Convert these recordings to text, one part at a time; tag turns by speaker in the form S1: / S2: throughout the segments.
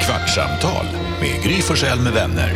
S1: Kvartsamtal med Gry Forssell med vänner.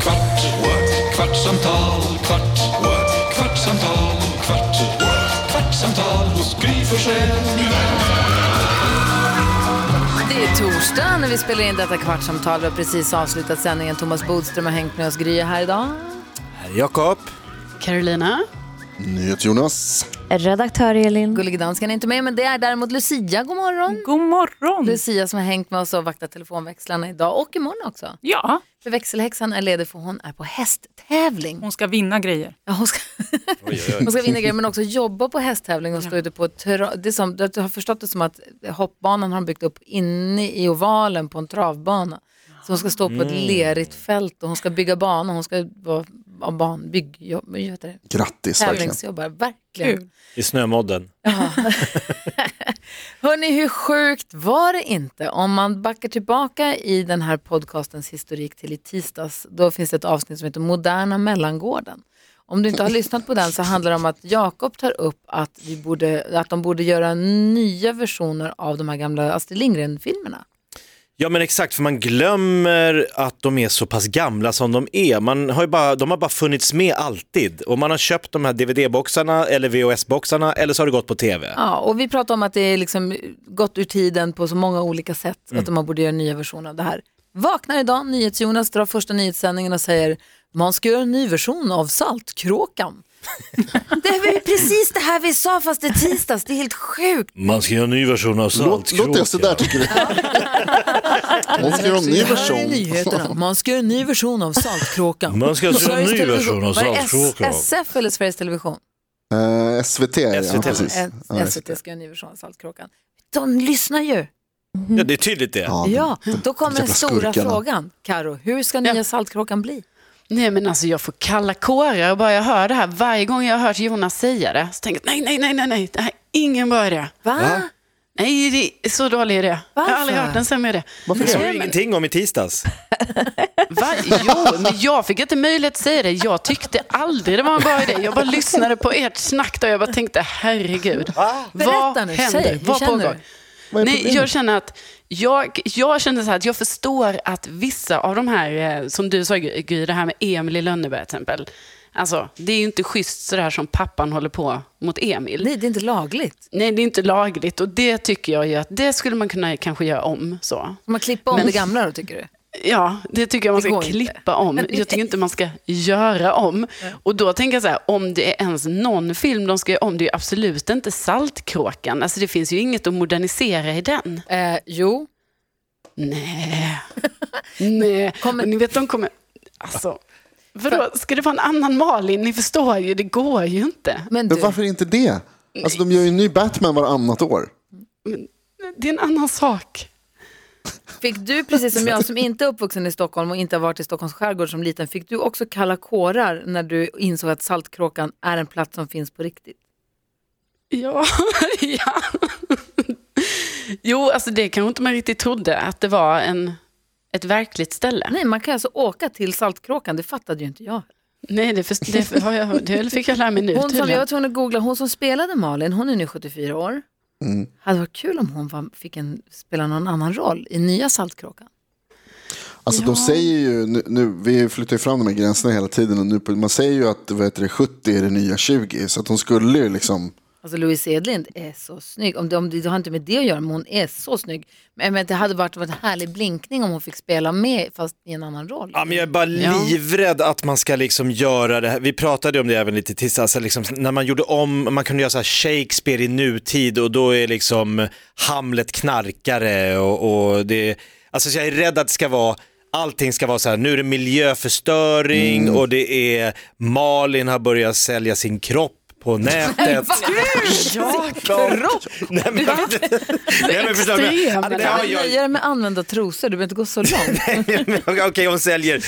S1: Kvart, what? kvartsamtal, kvart, what? kvartsamtal, kvart, what? kvartsamtal hos Gry Forssell med vänner.
S2: Det är torsdag när vi spelar in detta kvartsamtal. Vi har precis avslutat sändningen. Thomas Bodström har hängt med oss. Gry är här idag.
S3: Jakob.
S4: Carolina.
S5: NyhetsJonas.
S6: Redaktör Elin.
S2: Gullige dansken är inte med, men det är däremot Lucia. God morgon.
S6: Mm.
S4: God morgon.
S2: Lucia som har hängt med oss och vaktat telefonväxlarna idag och imorgon också.
S4: Ja,
S2: För växelhäxan är ledig för hon är på hästtävling.
S4: hon ska vinna grejer.
S2: Ja, hon, ska hon ska vinna grejer men också jobba på hästtävling och stå ute på tra- det är som, Du har förstått det som att hoppbanan har de byggt upp inne i ovalen på en travbana. Så hon ska stå på ett lerigt fält och hon ska bygga banor. Hon ska vara ja, ban, bygg, jobb, vad heter det?
S5: Grattis verkligen.
S2: tävlingsjobbar. Verkligen.
S4: Kul.
S3: I snömodden.
S2: Hörni, hur sjukt var det inte? Om man backar tillbaka i den här podcastens historik till i tisdags, då finns det ett avsnitt som heter Moderna mellangården. Om du inte har lyssnat på den så handlar det om att Jakob tar upp att, vi borde, att de borde göra nya versioner av de här gamla Astrid Lindgren-filmerna.
S3: Ja men exakt, för man glömmer att de är så pass gamla som de är. Man har ju bara, de har bara funnits med alltid och man har köpt de här DVD-boxarna eller VHS-boxarna eller så har det gått på TV.
S2: Ja, och vi pratar om att det är liksom gått ur tiden på så många olika sätt, att man borde göra en ny version av det här. Vaknar idag, NyhetsJonas drar första nyhetssändningen och säger man ska göra en ny version av Saltkråkan. det är väl precis det här vi sa fast det är tisdags, det är helt sjukt.
S3: Man ska göra en ny version av
S5: Låt, låter jag sådär tycker du? Hon ska göra en ny
S2: Det här är nyheterna,
S5: version.
S2: man ska göra en ny version av Saltkråkan.
S3: Man ska göra en
S2: Sveriges
S3: ny
S2: Television.
S3: version av
S2: Var det S-
S3: Saltkråkan.
S2: SF eller Sveriges Television?
S5: Eh, SVT, ja
S3: SVT.
S5: precis.
S2: S-
S5: Ja,
S2: SVT ska göra en ny version av Saltkråkan. De lyssnar ju.
S3: Ja, det är tydligt det.
S5: Ja,
S2: Ja, då kommer den
S5: jävla
S2: stora
S5: skurkarna.
S2: frågan. Karo, hur ska nya Saltkråkan bli?
S4: Nej men alltså jag får kalla kårar bara jag hör det här. Varje gång jag har hört Jonas säga det så tänker jag nej, nej, nej, nej, nej, det här är ingen bra idé.
S2: Va?
S4: Nej, det är så dålig idé. Jag har aldrig
S2: Varför?
S4: hört en sämre idé.
S3: Det sa du ingenting om i tisdags.
S4: Va? Jo, men jag fick inte möjlighet att säga det. Jag tyckte aldrig det var en bra idé. Jag bara lyssnade på ert snack där och jag bara tänkte, herregud.
S2: Berätta
S4: Vad
S2: nu,
S4: händer?
S2: säg, hur
S4: vad
S2: känner
S4: pågår?
S2: du?
S4: Nej, jag känner att jag, jag känner så här att jag förstår att vissa av de här, eh, som du sa Gry, det här med Emil i Lönneberg till exempel. Alltså, det är ju inte schysst så där som pappan håller på mot Emil.
S2: Nej, det är inte lagligt.
S4: Nej, det är inte lagligt och det tycker jag ju att det skulle man kunna kanske göra om så.
S2: Ska man klippa om det gamla då, tycker du?
S4: Ja, det tycker jag man
S2: Det
S4: ska
S2: går inte.
S4: klippa om. Jag tycker inte man ska göra om. Och då tänker jag så här, om det är ens någon film de ska göra om, det är ju absolut inte Saltkråkan. Alltså det finns ju inget att modernisera i den.
S2: Eh, jo,
S4: Nej. Nej.
S2: Kommer-
S4: Och Ni vet, de kommer... Alltså, vadå, ska det vara en annan Malin? Ni förstår ju, det går ju inte.
S2: men du,
S5: Men varför inte det? Alltså de gör ju en ny Batman varannat år.
S4: Det är en annan sak.
S2: fick du precis som jag som inte är uppvuxen i Stockholm och inte har varit i Stockholms skärgård som liten, fick du också kalla kårar när du insåg att Saltkråkan är en plats som finns på riktigt?
S4: Ja, ja. Jo, alltså det kanske inte man riktigt trodde, att det var en, ett verkligt ställe.
S2: Nej, man kan alltså åka till Saltkråkan, det fattade ju inte jag.
S4: Nej, det, för, det, har jag, det fick jag lära mig nu
S2: Hon som, jag
S4: tydligen.
S2: var tvungen att googla, hon som spelade Malin, hon är nu 74 år.
S5: Mm.
S2: Hade varit kul om hon var, fick en, spela någon annan roll i nya Saltkråkan.
S5: Alltså de säger ju, nu, nu, vi flyttar ju fram de här gränserna hela tiden och nu, på- man säger ju att vad heter det, 70 är det nya 20. Så att de skulle ju liksom,
S2: Alltså Louise Edlind är så snygg. Om det, om det, det har inte med det att göra, men hon är så snygg. Men, men det hade varit varit en härlig blinkning om hon fick spela med, fast i en annan roll.
S3: Ja, men jag är bara livrädd att man ska liksom göra det här. Vi pratade om det även lite tills, alltså liksom, när man gjorde om, man kunde göra så här Shakespeare i nutid och då är liksom Hamlet knarkare och, och det, alltså så jag är rädd att det ska vara Allting ska vara så här, nu är det miljöförstöring och det är Malin har börjat sälja sin kropp på nätet.
S4: Ja,
S3: kropp! Nej men, nej, men förstår du?
S4: Extrem,
S2: Det
S3: Nej,
S2: kan
S3: jag-
S2: väl nöja dig med att använda trosor, du behöver inte gå så långt.
S3: Men Okej, hon, säljer,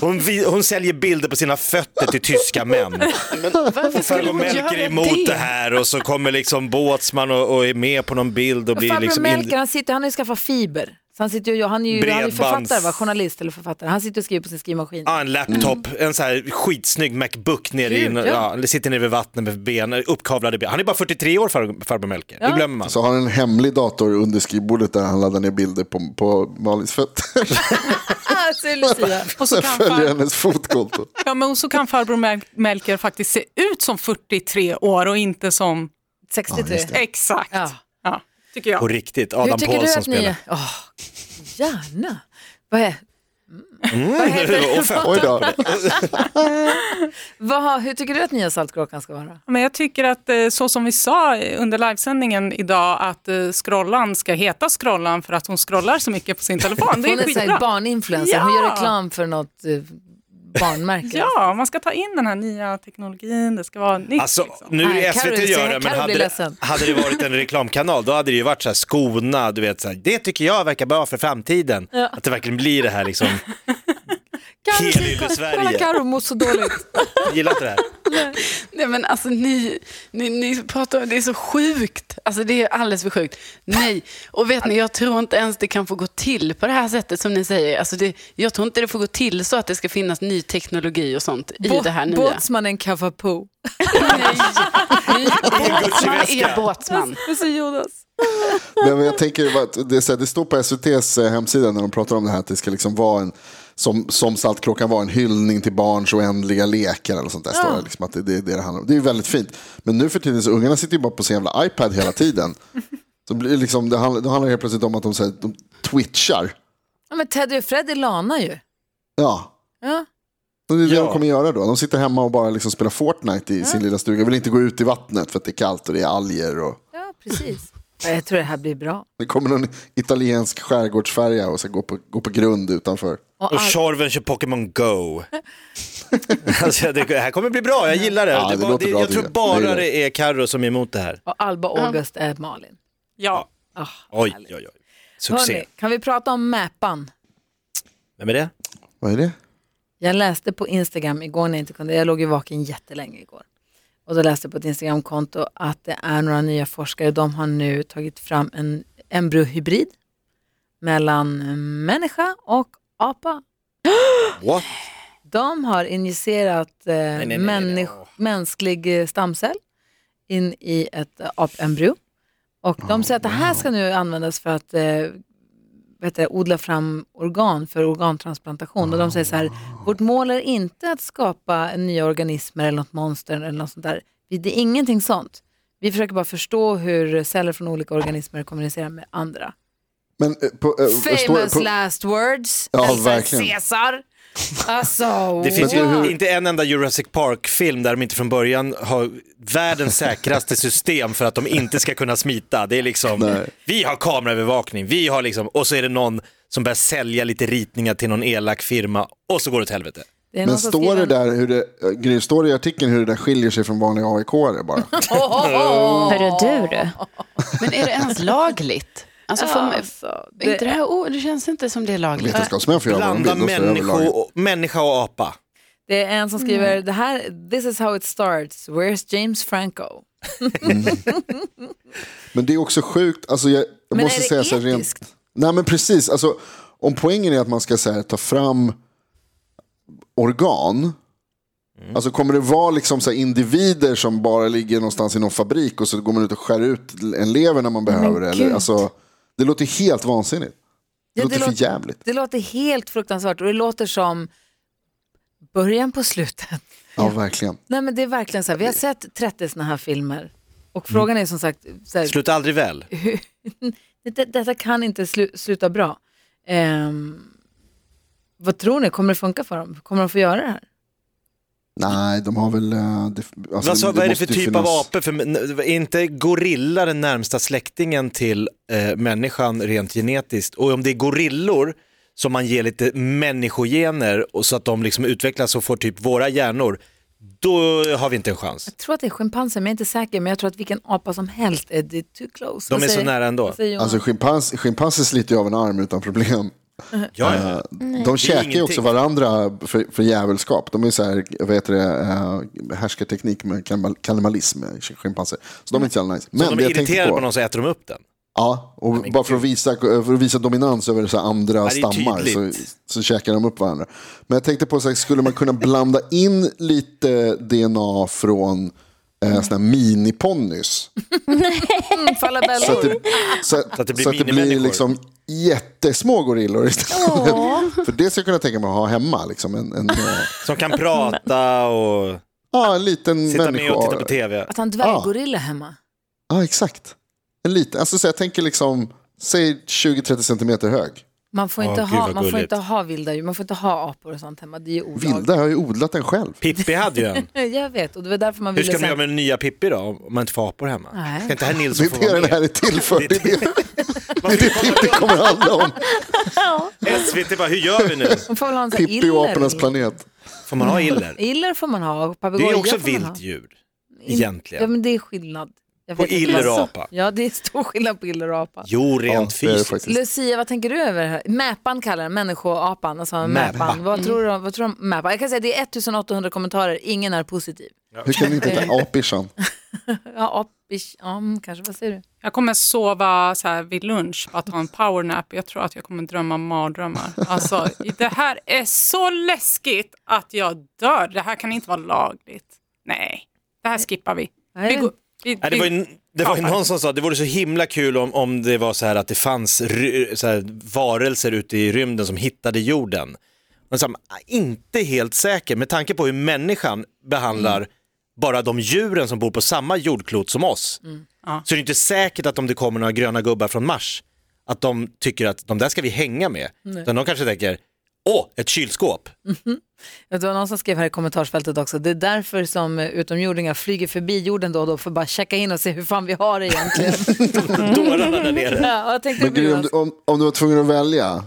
S3: hon, vi- hon säljer bilder på sina fötter till tyska män.
S4: varför skulle
S3: Farbror
S4: hon
S3: Melker är
S4: göra
S3: emot det
S4: det?
S3: här och så kommer liksom Båtsman och, och är med på någon bild och blir
S2: Farbror
S3: liksom...
S2: Melker,
S3: In...
S2: han sitter, han har ju skaffat fiber. Så han, sitter ju, och- han är ju han är ju
S3: Bredbands-
S2: författare, va? journalist eller författare. Han sitter och skriver på sin skrivmaskin.
S3: Ja, Ah, en laptop, en så här skitsnygg Macbook nere i,
S2: Gud, ja.
S3: ja. sitter nere vid vattnet med ben, uppkavlade ben. Han är bara 43 år far, farbror Melker, det glömmer man.
S5: Så har han en hemlig dator under skrivbordet där han laddar ner bilder på, på Malins fötter.
S2: Ah, säger Lucia.
S6: Och så kan,
S5: Följer
S6: far,
S5: hennes fotkonto.
S6: ja, men och så kan farbror Mel- Melker faktiskt se ut som 43 år och inte som
S2: 63.
S6: exakt.
S2: Ja.
S6: Ja. tycker
S3: På
S6: jag.
S3: riktigt,
S2: Hur
S3: Adam
S2: tycker du
S3: Pålsson
S2: att ni
S3: spelar.
S2: är? Åh, gärna. Vad, är, mm. vad heter det?
S5: Oj då.
S2: Vad, hur tycker du att Nya Saltkråkan ska vara?
S6: Men jag tycker att eh, så som vi sa under livesändningen idag att eh, scrollan ska heta scrollan för att hon scrollar så mycket på sin telefon. Det
S2: Hon
S6: är
S2: är så här
S6: skitbra.
S2: barninfluencer, hon gör
S6: Ja.
S2: reklam för något eh, barnmärke.
S6: Ja, man ska ta in den här nya teknologin, det ska vara nytt.
S3: Alltså,
S6: liksom.
S3: nu
S2: Nej,
S3: är
S2: Karo,
S3: SVT gör det, men
S2: Karo
S3: hade
S2: blir
S3: det,
S2: ledsen.
S3: hade det varit en reklamkanal, då hade det ju varit så här skona, du vet, så här, det tycker jag verkar bra för framtiden. Att det verkligen blir det här liksom,
S2: Karo,
S3: Hel i
S2: Kolla
S3: Sverige.
S2: Karo mår så dåligt.
S3: gillar inte det här?
S4: Nej men alltså ni, ni, ni pratar om, det är så sjukt. Alltså det är alldeles för sjukt. Nej, och vet ni, jag tror inte ens det kan få gå till på det här sättet som ni säger. Alltså det, jag tror inte det får gå till så att det ska finnas ny teknologi och sånt i
S2: Bå-
S4: det här nya.
S2: Båtsmannen Cavapo.
S4: Nej, ny, båtsman är båtsman.
S2: Alltså, Jonas.
S5: Nej, men jag tänker bara att det, är så här, det står på SVTs eh, hemsida när de pratar om det här att det ska liksom vara en, som, som Saltkråkan var, en hyllning till barns oändliga lekar eller sånt där. Står det, liksom, att det, det, är det, det handlar om. Det är ju väldigt fint. Men nu för tiden så ungarna sitter ju bara på sin jävla iPad hela tiden. Så blir det liksom, det handlar, då handlar det helt plötsligt om att de, så här, de twitchar.
S2: Ja, men Teddy och Freddy lanar ju.
S5: Ja.
S2: Ja.
S5: Och Det är det
S3: Ja.
S5: de kommer göra då. De sitter hemma och bara liksom spelar Fortnite i sin lilla stuga. Vill inte gå ut i vattnet för att det är kallt och det är alger. Och...
S2: Ja, precis. Ja, Jag tror det här blir bra.
S5: Det kommer någon italiensk skärgårdsfärja och ska gå på, gå på grund utanför.
S2: Och
S3: Och
S2: all-
S3: Tjorven kör Pokémon Go. Alltså, det, det här kommer bli bra, jag gillar det.
S5: Ja,
S3: det,
S5: det
S3: bara-
S5: låter
S3: det
S5: bra,
S3: jag
S5: det
S3: tror
S5: gör.
S3: bara
S5: Det gör.
S3: det är Carro som är emot det här.
S2: Och Alba August är Malin.
S6: Ja.
S3: Oj, oj, oj. Succé.
S2: Hörrni, kan vi prata om Mäpan?
S3: Vem är det?
S5: Vad är det?
S2: Jag läste på Instagram igår när jag inte kunde, jag låg ju vaken jättelänge igår. Och då läste jag på ett Instagramkonto att det är några nya forskare, de har nu tagit fram en embryohybrid mellan människa och apa.
S3: What?
S2: De har injicerat eh,
S3: nej, nej,
S2: människ-
S3: nej.
S2: mänsklig eh, stamcell in i ett eh, apembryo. Och de säger att det
S3: Oh,
S2: här ska nu användas för att eh, vet du, odla fram organ för organtransplantation. Och de säger så
S3: Oh,
S2: här, vårt mål är inte att skapa nya organismer eller något monster eller något sånt där. Vi- Det är ingenting sånt. Vi försöker bara förstå hur celler från olika organismer kommunicerar med andra.
S5: Men, eh, på, eh, står det
S2: Famous
S5: på,
S2: last words.
S5: Ja,
S2: Hälsar
S5: verkligen.
S2: Caesar. Alltså,
S3: Det finns
S2: wow.
S3: ju inte en enda Jurassic Park-film där de inte från början har världens säkraste system för att de inte ska kunna smita. Det är liksom,
S5: Nej.
S3: vi har kameraövervakning, vi har liksom, och så är det någon som börjar sälja lite ritningar till någon elak firma och så går det åt helvete.
S2: Det är någon
S5: men
S2: som
S5: står
S2: skriver-
S5: det där hur det, eh, Gry, står det i artikeln hur det där skiljer sig från vanliga AIK-are bara?
S7: Hörru du du.
S4: Men är det ens lagligt? Alltså, får man, är inte det, här, oh, det känns inte som det är lagligt.
S5: Vetenskapsmän får göra vad de
S3: Blanda
S5: vill. då står det överlag.
S3: människo, människa och apa.
S2: Det är en som skriver,
S7: Mm.
S2: det här, this is how it starts, where's James Franco?
S5: Men det är också sjukt, alltså jag, jag
S2: Men
S5: måste
S2: är det
S5: säga så här rent...
S2: etiskt?
S5: Nej men precis, alltså, om poängen är att man ska så här, ta fram organ,
S3: Mm.
S5: alltså kommer det vara liksom så här, individer som bara ligger någonstans i någon fabrik och så går man ut och skär ut en lever när man behöver det? Eller,
S2: gud.
S5: alltså, det låter helt vansinnigt. Det
S2: Ja,
S5: låter för jävligt.
S2: Det låter helt fruktansvärt och det låter som början på slutet.
S5: Ja, verkligen.
S2: Nej men det är verkligen så här, vi har sett 30 sådana här filmer och frågan är som sagt, så här,
S3: Sluta aldrig väl.
S2: det, detta kan inte slu, sluta bra. Ehm, vad tror ni, kommer det funka för dem? Kommer de få göra det här?
S5: Nej, de har väl... eh, det- alltså,
S3: Vad sa- vad är det för
S5: måste
S3: typ
S5: ju
S3: av
S5: finnas-
S3: apor? För, är inte gorilla den närmsta släktingen till eh, människan rent genetiskt? Och om det är gorillor som man ger lite människogener och så att de liksom utvecklas och får typ våra hjärnor, då har vi inte en chans.
S2: Jag tror att det är schimpanser, men jag är inte säker, men jag tror att vilken apa som helst är det är too close.
S3: De
S2: Vad
S3: är så
S2: säger-
S3: nära ändå.
S2: vad säger Jonas?
S5: Alltså schimpans, schimpanser sliter ju av en arm utan problem.
S3: Ja,
S5: Eh,
S3: ja.
S5: De käkar ju också
S3: ingenting. varandra
S5: varandra för, för jävelskap. De är så här, vad heter det, eh, härskarteknik med kannibal- kannibalism, eh, schimpanser. Så de är inte så jävla nice. Men det
S3: Om de är
S5: jag tänkte
S3: irriterade
S5: på,
S3: på någon så äter de upp den.
S5: Ja, och bara för att, visa, för att visa dominans över så här andra
S3: det är
S5: stammar så,
S3: tydligt.
S5: så käkar de upp varandra. Men jag tänkte på, så här, skulle man kunna blanda in lite DNA från eh, såna här miniponnys?
S2: Mm,
S5: Så att det, så, så
S3: att det blir
S5: så att det blir
S3: minimänniskor.
S5: liksom jättesmå gorillor istället. För det skulle jag kunna tänka mig att ha hemma. Liksom en, en, eh,
S3: Som kan prata och
S5: ja, en liten
S3: sitta med och titta på
S5: människa.
S3: tv.
S2: Att han dvärggorilla hemma.
S5: Ja, exakt. En liten, alltså, så jag tänker liksom, säg 20-30 centimeter hög.
S2: Man får, inte
S3: Åh, gud,
S2: ha,
S3: vad
S2: man får
S3: gulligt.
S2: inte ha vilda djur, man får inte ha apor och sånt hemma. Det är ju olagligt.
S5: Vilda, jag har ju odlat den själv.
S3: Pippi hade ju en.
S2: Jag vet, och det var därför man
S3: Hur
S2: ville...
S3: ska de
S2: sen-
S3: göra med den nya Pippi då, om man inte får apor hemma?
S2: Nej.
S3: Ska inte herr
S5: Det
S3: Nilsson få
S5: är det
S3: vara
S5: den här
S3: med?
S5: är till för. Det är det
S3: Vad ska vi
S5: det kommer handla om.
S3: SVT bara, hur gör vi nu?
S2: Man får väl ha en sån här
S5: Pippi och apornas planet.
S3: Får man ha iller?
S2: Iller får man ha och
S3: Det
S2: papegoja
S3: är
S2: Mm. får man
S3: också
S2: ha. Mm.
S3: vilt djur,
S2: Ja,
S3: egentligen.
S2: men det är skillnad. Jag
S3: På
S2: vet inte. Alltså,
S3: iller och apa.
S2: Ja, det är stor skillnad på iller och apa.
S3: Jo, rent
S5: Ja, det är det
S3: fysiskt.
S5: faktiskt.
S2: Lucia, vad tänker du över det här? Mäpan kallar den, människoapan. Alltså
S3: Mäpa.
S2: mäpan. Vad tror du om, vad tror du om mäpan? Jag kan säga att det är 1800 kommentarer, ingen är positiv.
S5: Hur kan ni inte heta apishan?
S2: Ja, apish, ja mm, kanske, vad säger du?
S6: Jag kommer sova så här vid lunch för att ha en powernap. Jag tror att jag kommer drömma mardrömmar. Alltså, det här är så läskigt att jag dör. Det här kan inte vara lagligt. Nej, det här skippar vi.
S2: Nej.
S6: vi, går, vi,
S3: Nej, det var
S6: vi-
S3: ju, det var ju
S6: Ja.
S3: någon som sa att det vore så himla kul om, om det var så här att det fanns ry, så här, varelser ute i rymden som hittade jorden. Men så här, inte helt säker med tanke på hur människan behandlar
S2: Mm.
S3: bara de djuren som bor på samma jordklot som oss.
S2: Mm.
S6: Ja.
S3: Så det är inte säkert att om det kommer några gröna gubbar från Mars att de tycker att de där ska vi hänga med. Utan de kanske tänker, åh, ett kylskåp.
S2: Det var någon som skrev här i kommentarsfältet också, det är därför som eh, utomjordingar flyger förbi jorden då och då för att bara checka in och se hur fan vi har det egentligen.
S3: Mm. Dårarna där nere.
S2: ja, jag tänkte
S5: Men Gry, om, du- om, om du var tvungen att välja,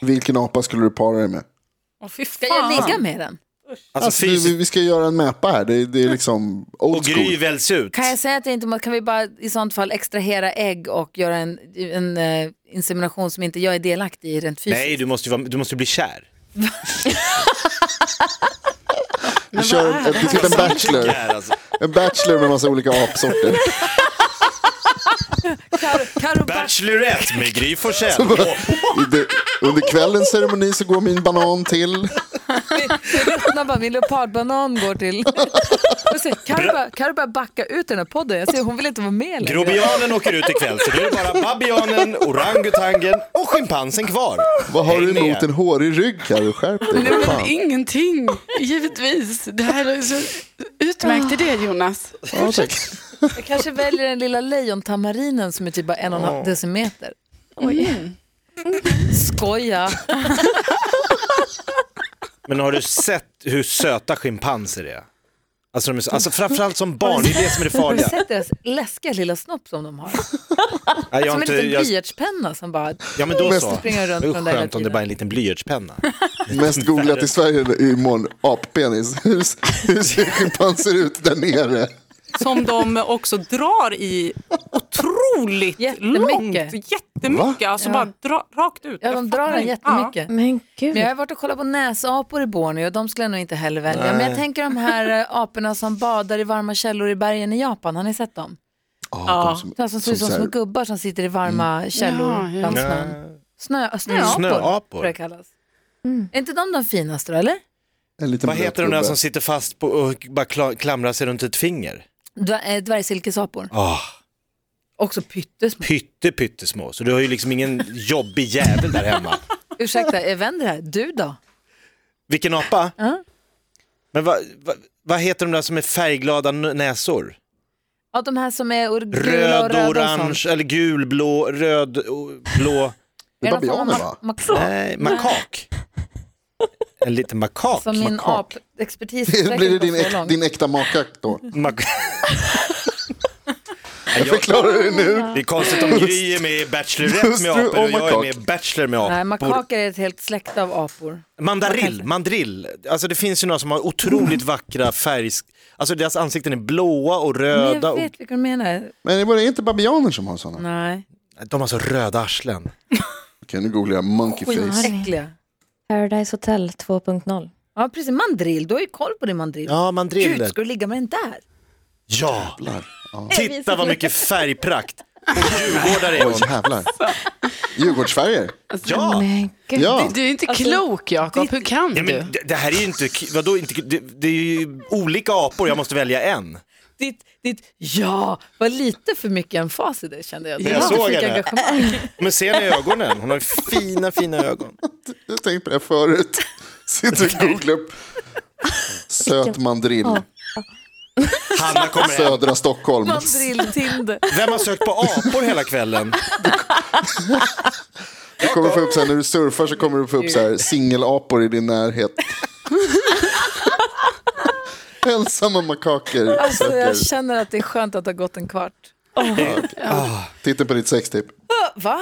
S5: vilken apa skulle du para dig med?
S6: Åh, fy
S2: Ska jag
S6: fan.
S2: ligga med den?
S3: Alltså,
S5: Alltså, du, vi,
S3: fysiskt.
S5: vi ska göra en mäpa här, det, är- det är liksom
S3: Och
S5: old
S3: Gry
S5: school.
S3: väljs ut.
S2: Kan jag säga att jag inte må- kan vi bara i sånt fall extrahera ägg och göra en, en eh, insemination som inte jag är delaktig i rent fysiskt?
S3: Nej, du måste, ju vara, du måste ju bli kär.
S5: Vi kör en, det sitter Typ en bachelor,
S3: Kär alltså.
S5: en bachelor med massa olika apsorter.
S2: Karo, Karo Back-
S3: Bachelorette med Gry Forssell.
S5: I det, under kvällens ceremoni så går min banan till.
S2: Man bara, min leopardbanan går till... Och så, kan, du bara, kan du bara backa ut den här podden? Jag ser, hon vill inte vara med längre.
S3: Grobianen åker ut ikväll, så nu är det bara babianen, orangutangen och schimpansen kvar.
S5: Vad har
S3: Häng
S5: du emot
S3: med.
S5: en hårig rygg Carro? Skärp dig.
S4: Nej,
S5: vad
S4: men
S5: Fan.
S4: ingenting, givetvis. Det här är så utmärkt idé, Jonas.
S5: Ja, tack.
S2: Jag kanske väljer den lilla lejontamarinen som är typ bara en och en halv decimeter. Mm. Skoja!
S3: Men har du sett hur söta schimpanser är? Alltså, de är så, alltså framförallt som barn, det är det som är det
S2: Har du
S3: farliga.
S2: sett deras läskiga lilla snopp som de har?
S3: Nej, jag har
S2: Som en
S3: inte,
S2: liten
S3: jag,
S2: blyertspenna som bara...
S3: ja men då
S5: Mest
S3: så. Det
S2: springer runt
S3: är ju
S2: med den där
S3: skönt om det
S2: tiden.
S3: bara är en liten blyertspenna.
S5: Mest googlat i Sverige i morgon, appenis. Hur, hur ser schimpanser ut där nere?
S6: Som de också drar i otroligt
S2: Jättemycket.
S6: långt. Jättemycket. Alltså
S2: Ja.
S6: bara dra, rakt ut.
S2: Ja,
S6: Jag
S2: de
S6: fattar
S2: drar den
S6: inte.
S2: jättemycket.
S7: Men gud.
S2: Men jag har varit och kollat på näsapor i Borneo och de skulle jag nog inte heller välja. Men jag tänker de här eh, aporna som badar i varma källor i bergen i Japan. Har ni sett dem?
S3: Ah,
S5: Oh,
S6: Ja.
S2: De alltså som ser ut som
S5: så här-
S2: små gubbar som sitter i varma källor
S4: Ja, ja.
S2: bland snön. Snö, snöapor,
S3: Mm. Snöapor.
S2: tror jag det kallas. Är inte de de finaste då, eller?
S5: en liten
S3: Vad heter de
S5: blöt
S3: där
S5: gubbe.
S3: som sitter fast på och bara kla- klamrar sig runt ett finger?
S2: Dvär- eh, Dvärgsilkesapor.
S3: Ah,
S2: Också pyttesmå.
S3: pytte pyttesmå, så du har ju liksom ingen jobbig jävel där hemma.
S2: Ursäkta, jag vänder här. Du då?
S3: Vilken apa?
S2: Ja.
S3: Men vad va, vad heter de där som är färgglada n- näsor?
S2: Ja, de här som är or- gula och
S3: Röd,
S2: röda och
S3: orange,
S2: sånt.
S3: eller gul, blå, röd, o- blå.
S5: Det är
S2: Är det någon form av
S5: babianer va?
S2: mak- mak-
S3: Nej, makak. En liten makak.
S2: Som min
S5: Makak.
S2: apexpertis
S5: Det
S2: sträcker
S5: Blir det
S2: inte
S5: din,
S2: så
S5: äk,
S2: långt.
S5: din äkta maka då?
S3: Mak-
S5: Jag förklarar det nu.
S3: det är konstigt om Gry är med i Bachelorette
S5: Hustru
S3: med apor och
S5: och
S3: jag är
S5: makak.
S3: med i Bachelor med
S2: Nej,
S3: apor.
S2: makaker är ett helt släkt av apor.
S3: Mandarill, mandrill. Alltså det finns ju några som har otroligt vackra färg... Alltså deras ansikten är blåa och
S2: Men
S3: röda.
S2: jag
S3: Och...
S2: vet vilka du menar.
S5: Men det var det inte babianer som har sådana?
S2: Nej,
S3: De har så röda arslen.
S5: Okej, nu googlar jag monkey face.
S2: äckliga.
S7: Paradise Hotel 2.0.
S2: Ja, precis. Mandrill. Du har ju koll på din mandrill.
S3: Ja,
S2: Gud,
S3: mandriller.
S2: ska du ligga med den där?
S3: Ja, titta vad mycket färgprakt. Djurgårdare är hon.
S5: Oj, jävlar. Djurgårdsfärger.
S3: Ja!
S7: Men gud.
S5: Ja.
S4: Du är inte klok, Jakob. Hur kan
S3: Ja,
S4: du?
S3: men Alltså, det, det här är ju inte, vadå, inte det, det är ju olika apor, jag måste välja en.
S2: Ditt, ditt ja var lite för mycket emfas i det kände jag. Det
S3: Jag
S2: var lite
S3: såg
S2: för mycket
S3: det.
S2: engagemang.
S3: Men ser ni ögonen? Hon har fina, fina ögon.
S5: Jag tänkte på det förut. Sitter och googlar upp. Söt mandrill.
S3: Hanna kommer hem.
S5: Södra Stockholm.
S2: Mandrill-Tinder.
S3: Vem har sökt på apor hela kvällen?
S5: Du kommer få upp så här, när du surfar så kommer du få upp så här, singelapor i din närhet. Ensamma makaker.
S2: Alltså, jag
S5: söker.
S2: känner att det är skönt att det har gått en kvart.
S5: Titta på ditt sextipp.
S2: Va?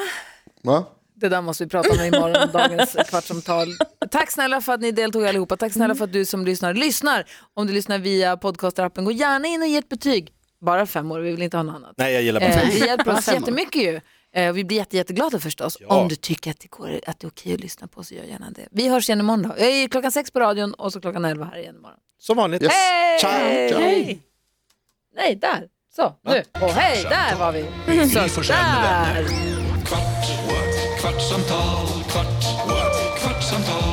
S5: Va?
S2: Det där måste vi prata om imorgon, dagens kvartsamtal. Tack snälla för att ni deltog allihopa. Tack snälla för att du som lyssnar lyssnar. Om du lyssnar via podcasterappen, gå gärna in och ge ett betyg. Bara fem år, vi vill inte ha något annat.
S3: Nej, jag gillar bara
S2: Eh,
S3: fem.
S2: det hjälper
S4: Bara
S2: oss
S4: fem år.
S2: jättemycket ju. Eh, vi blir jätte, jätteglada förstås. Om du tycker att det, går, att det är okej att lyssna på så gör gärna det. Vi hörs igen imorgon då. Jag är klockan sex på radion och så klockan elva här igen imorgon.
S3: Som vanligt.
S5: Yes.
S3: Ciao.
S2: Hej! Nej, där. Så, nu. Och hej, där var vi.
S1: Gry
S2: Så,
S1: Forssell med vänner.
S2: där.
S1: Kvart, what? kvartsamtal, kvart, what? kvartsamtal,